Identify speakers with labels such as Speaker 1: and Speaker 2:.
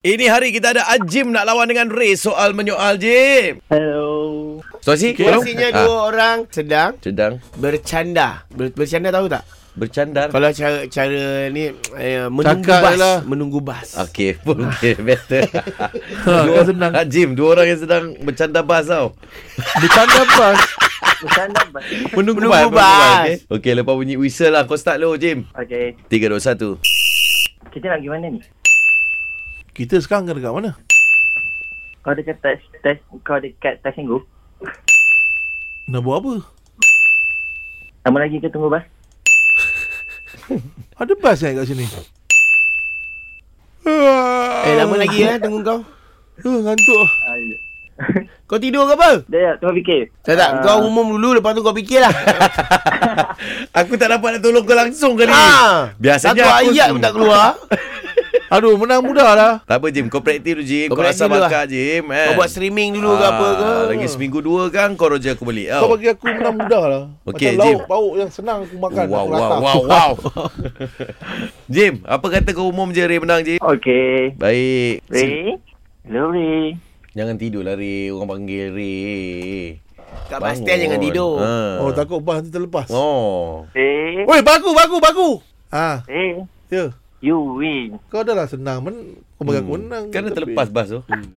Speaker 1: Ini hari kita ada Ajim nak lawan dengan Ray soal menyoal Jim.
Speaker 2: Hello.
Speaker 1: Situasi? Okay.
Speaker 2: Biasanya dua orang sedang
Speaker 1: Ah, Sedang
Speaker 2: bercanda. Ber- bercanda tahu tak?
Speaker 1: Hmm. bercandar.
Speaker 2: Kalau cara cara ni eh, menunggu
Speaker 3: Cakap
Speaker 2: bas,
Speaker 3: je lah.
Speaker 2: menunggu bas.
Speaker 1: Okey, okey, better.
Speaker 2: Ah,
Speaker 3: Ha, kau senang.
Speaker 1: Ajim, dua orang yang sedang bercanda bas tau.
Speaker 3: Bercanda bas
Speaker 1: Menunggu,
Speaker 2: Menunggu
Speaker 1: bas, menunggu
Speaker 2: bas.
Speaker 1: Okey, okay, lepas bunyi whistle lah. Kau start dulu, Jim.
Speaker 4: Okey,
Speaker 1: 3, 2, 1.
Speaker 4: kita nak pergi mana ni?
Speaker 3: Kita sekarang kena dekat mana?
Speaker 4: Kau dekat tes, tes kau dekat tes minggu?
Speaker 3: Nak buat apa?
Speaker 4: Lama lagi ke tunggu bas?
Speaker 3: Ada bas kan kat sini?
Speaker 2: Eh lama lagi eh tunggu kau.
Speaker 3: Eh, ngantuk ah.
Speaker 2: Kau tidur ke apa?
Speaker 4: Dia tengah fikir.
Speaker 2: Tak tak,
Speaker 4: Ah,
Speaker 2: kau umum dulu lepas tu kau fikirlah.
Speaker 1: Aku tak dapat nak tolong kau langsung kali.
Speaker 2: ha.
Speaker 1: Biasanya
Speaker 2: Satu
Speaker 1: aku
Speaker 2: ayat
Speaker 1: tu-
Speaker 2: pun tak keluar.
Speaker 3: Aduh, menang mudah lah.
Speaker 1: Tak apa, Jim. Kau praktis dulu, Jim.
Speaker 2: Kau
Speaker 1: Kau,
Speaker 2: praktis
Speaker 1: rasa
Speaker 2: dulu lah.
Speaker 1: bakar, Jim. Eh. Ah,
Speaker 2: Kau buat streaming dulu ke apa ke?
Speaker 1: Lagi seminggu dua kan, kau roja aku balik.
Speaker 3: Kau
Speaker 1: tau.
Speaker 3: bagi aku menang mudah lah.
Speaker 1: Okey,
Speaker 3: Macam
Speaker 1: Jim.
Speaker 3: lauk, pauk yang senang aku makan.
Speaker 1: Oh, Wow,
Speaker 3: aku
Speaker 1: wow, wow, wow. Jim, apa kata kau umum je Ray menang, Jim?
Speaker 4: Ah, Okey.
Speaker 1: Baik.
Speaker 4: Ray? Hello, Ray.
Speaker 1: Jangan tidur lah, Ray. Orang panggil Ray.
Speaker 2: Kat bus stand jangan tidur.
Speaker 1: Ha.
Speaker 3: Oh, takut bas nanti terlepas. Oh.
Speaker 1: Oh.
Speaker 4: Ray?
Speaker 3: Oi, baku, baku, baku. Ha,
Speaker 4: Ray?
Speaker 3: ya.
Speaker 4: You win.
Speaker 1: Hmm.
Speaker 3: Kau dah lah senang. Men- kau bagi aku menang. Hmm.
Speaker 1: Kan dah terlepas bas tu.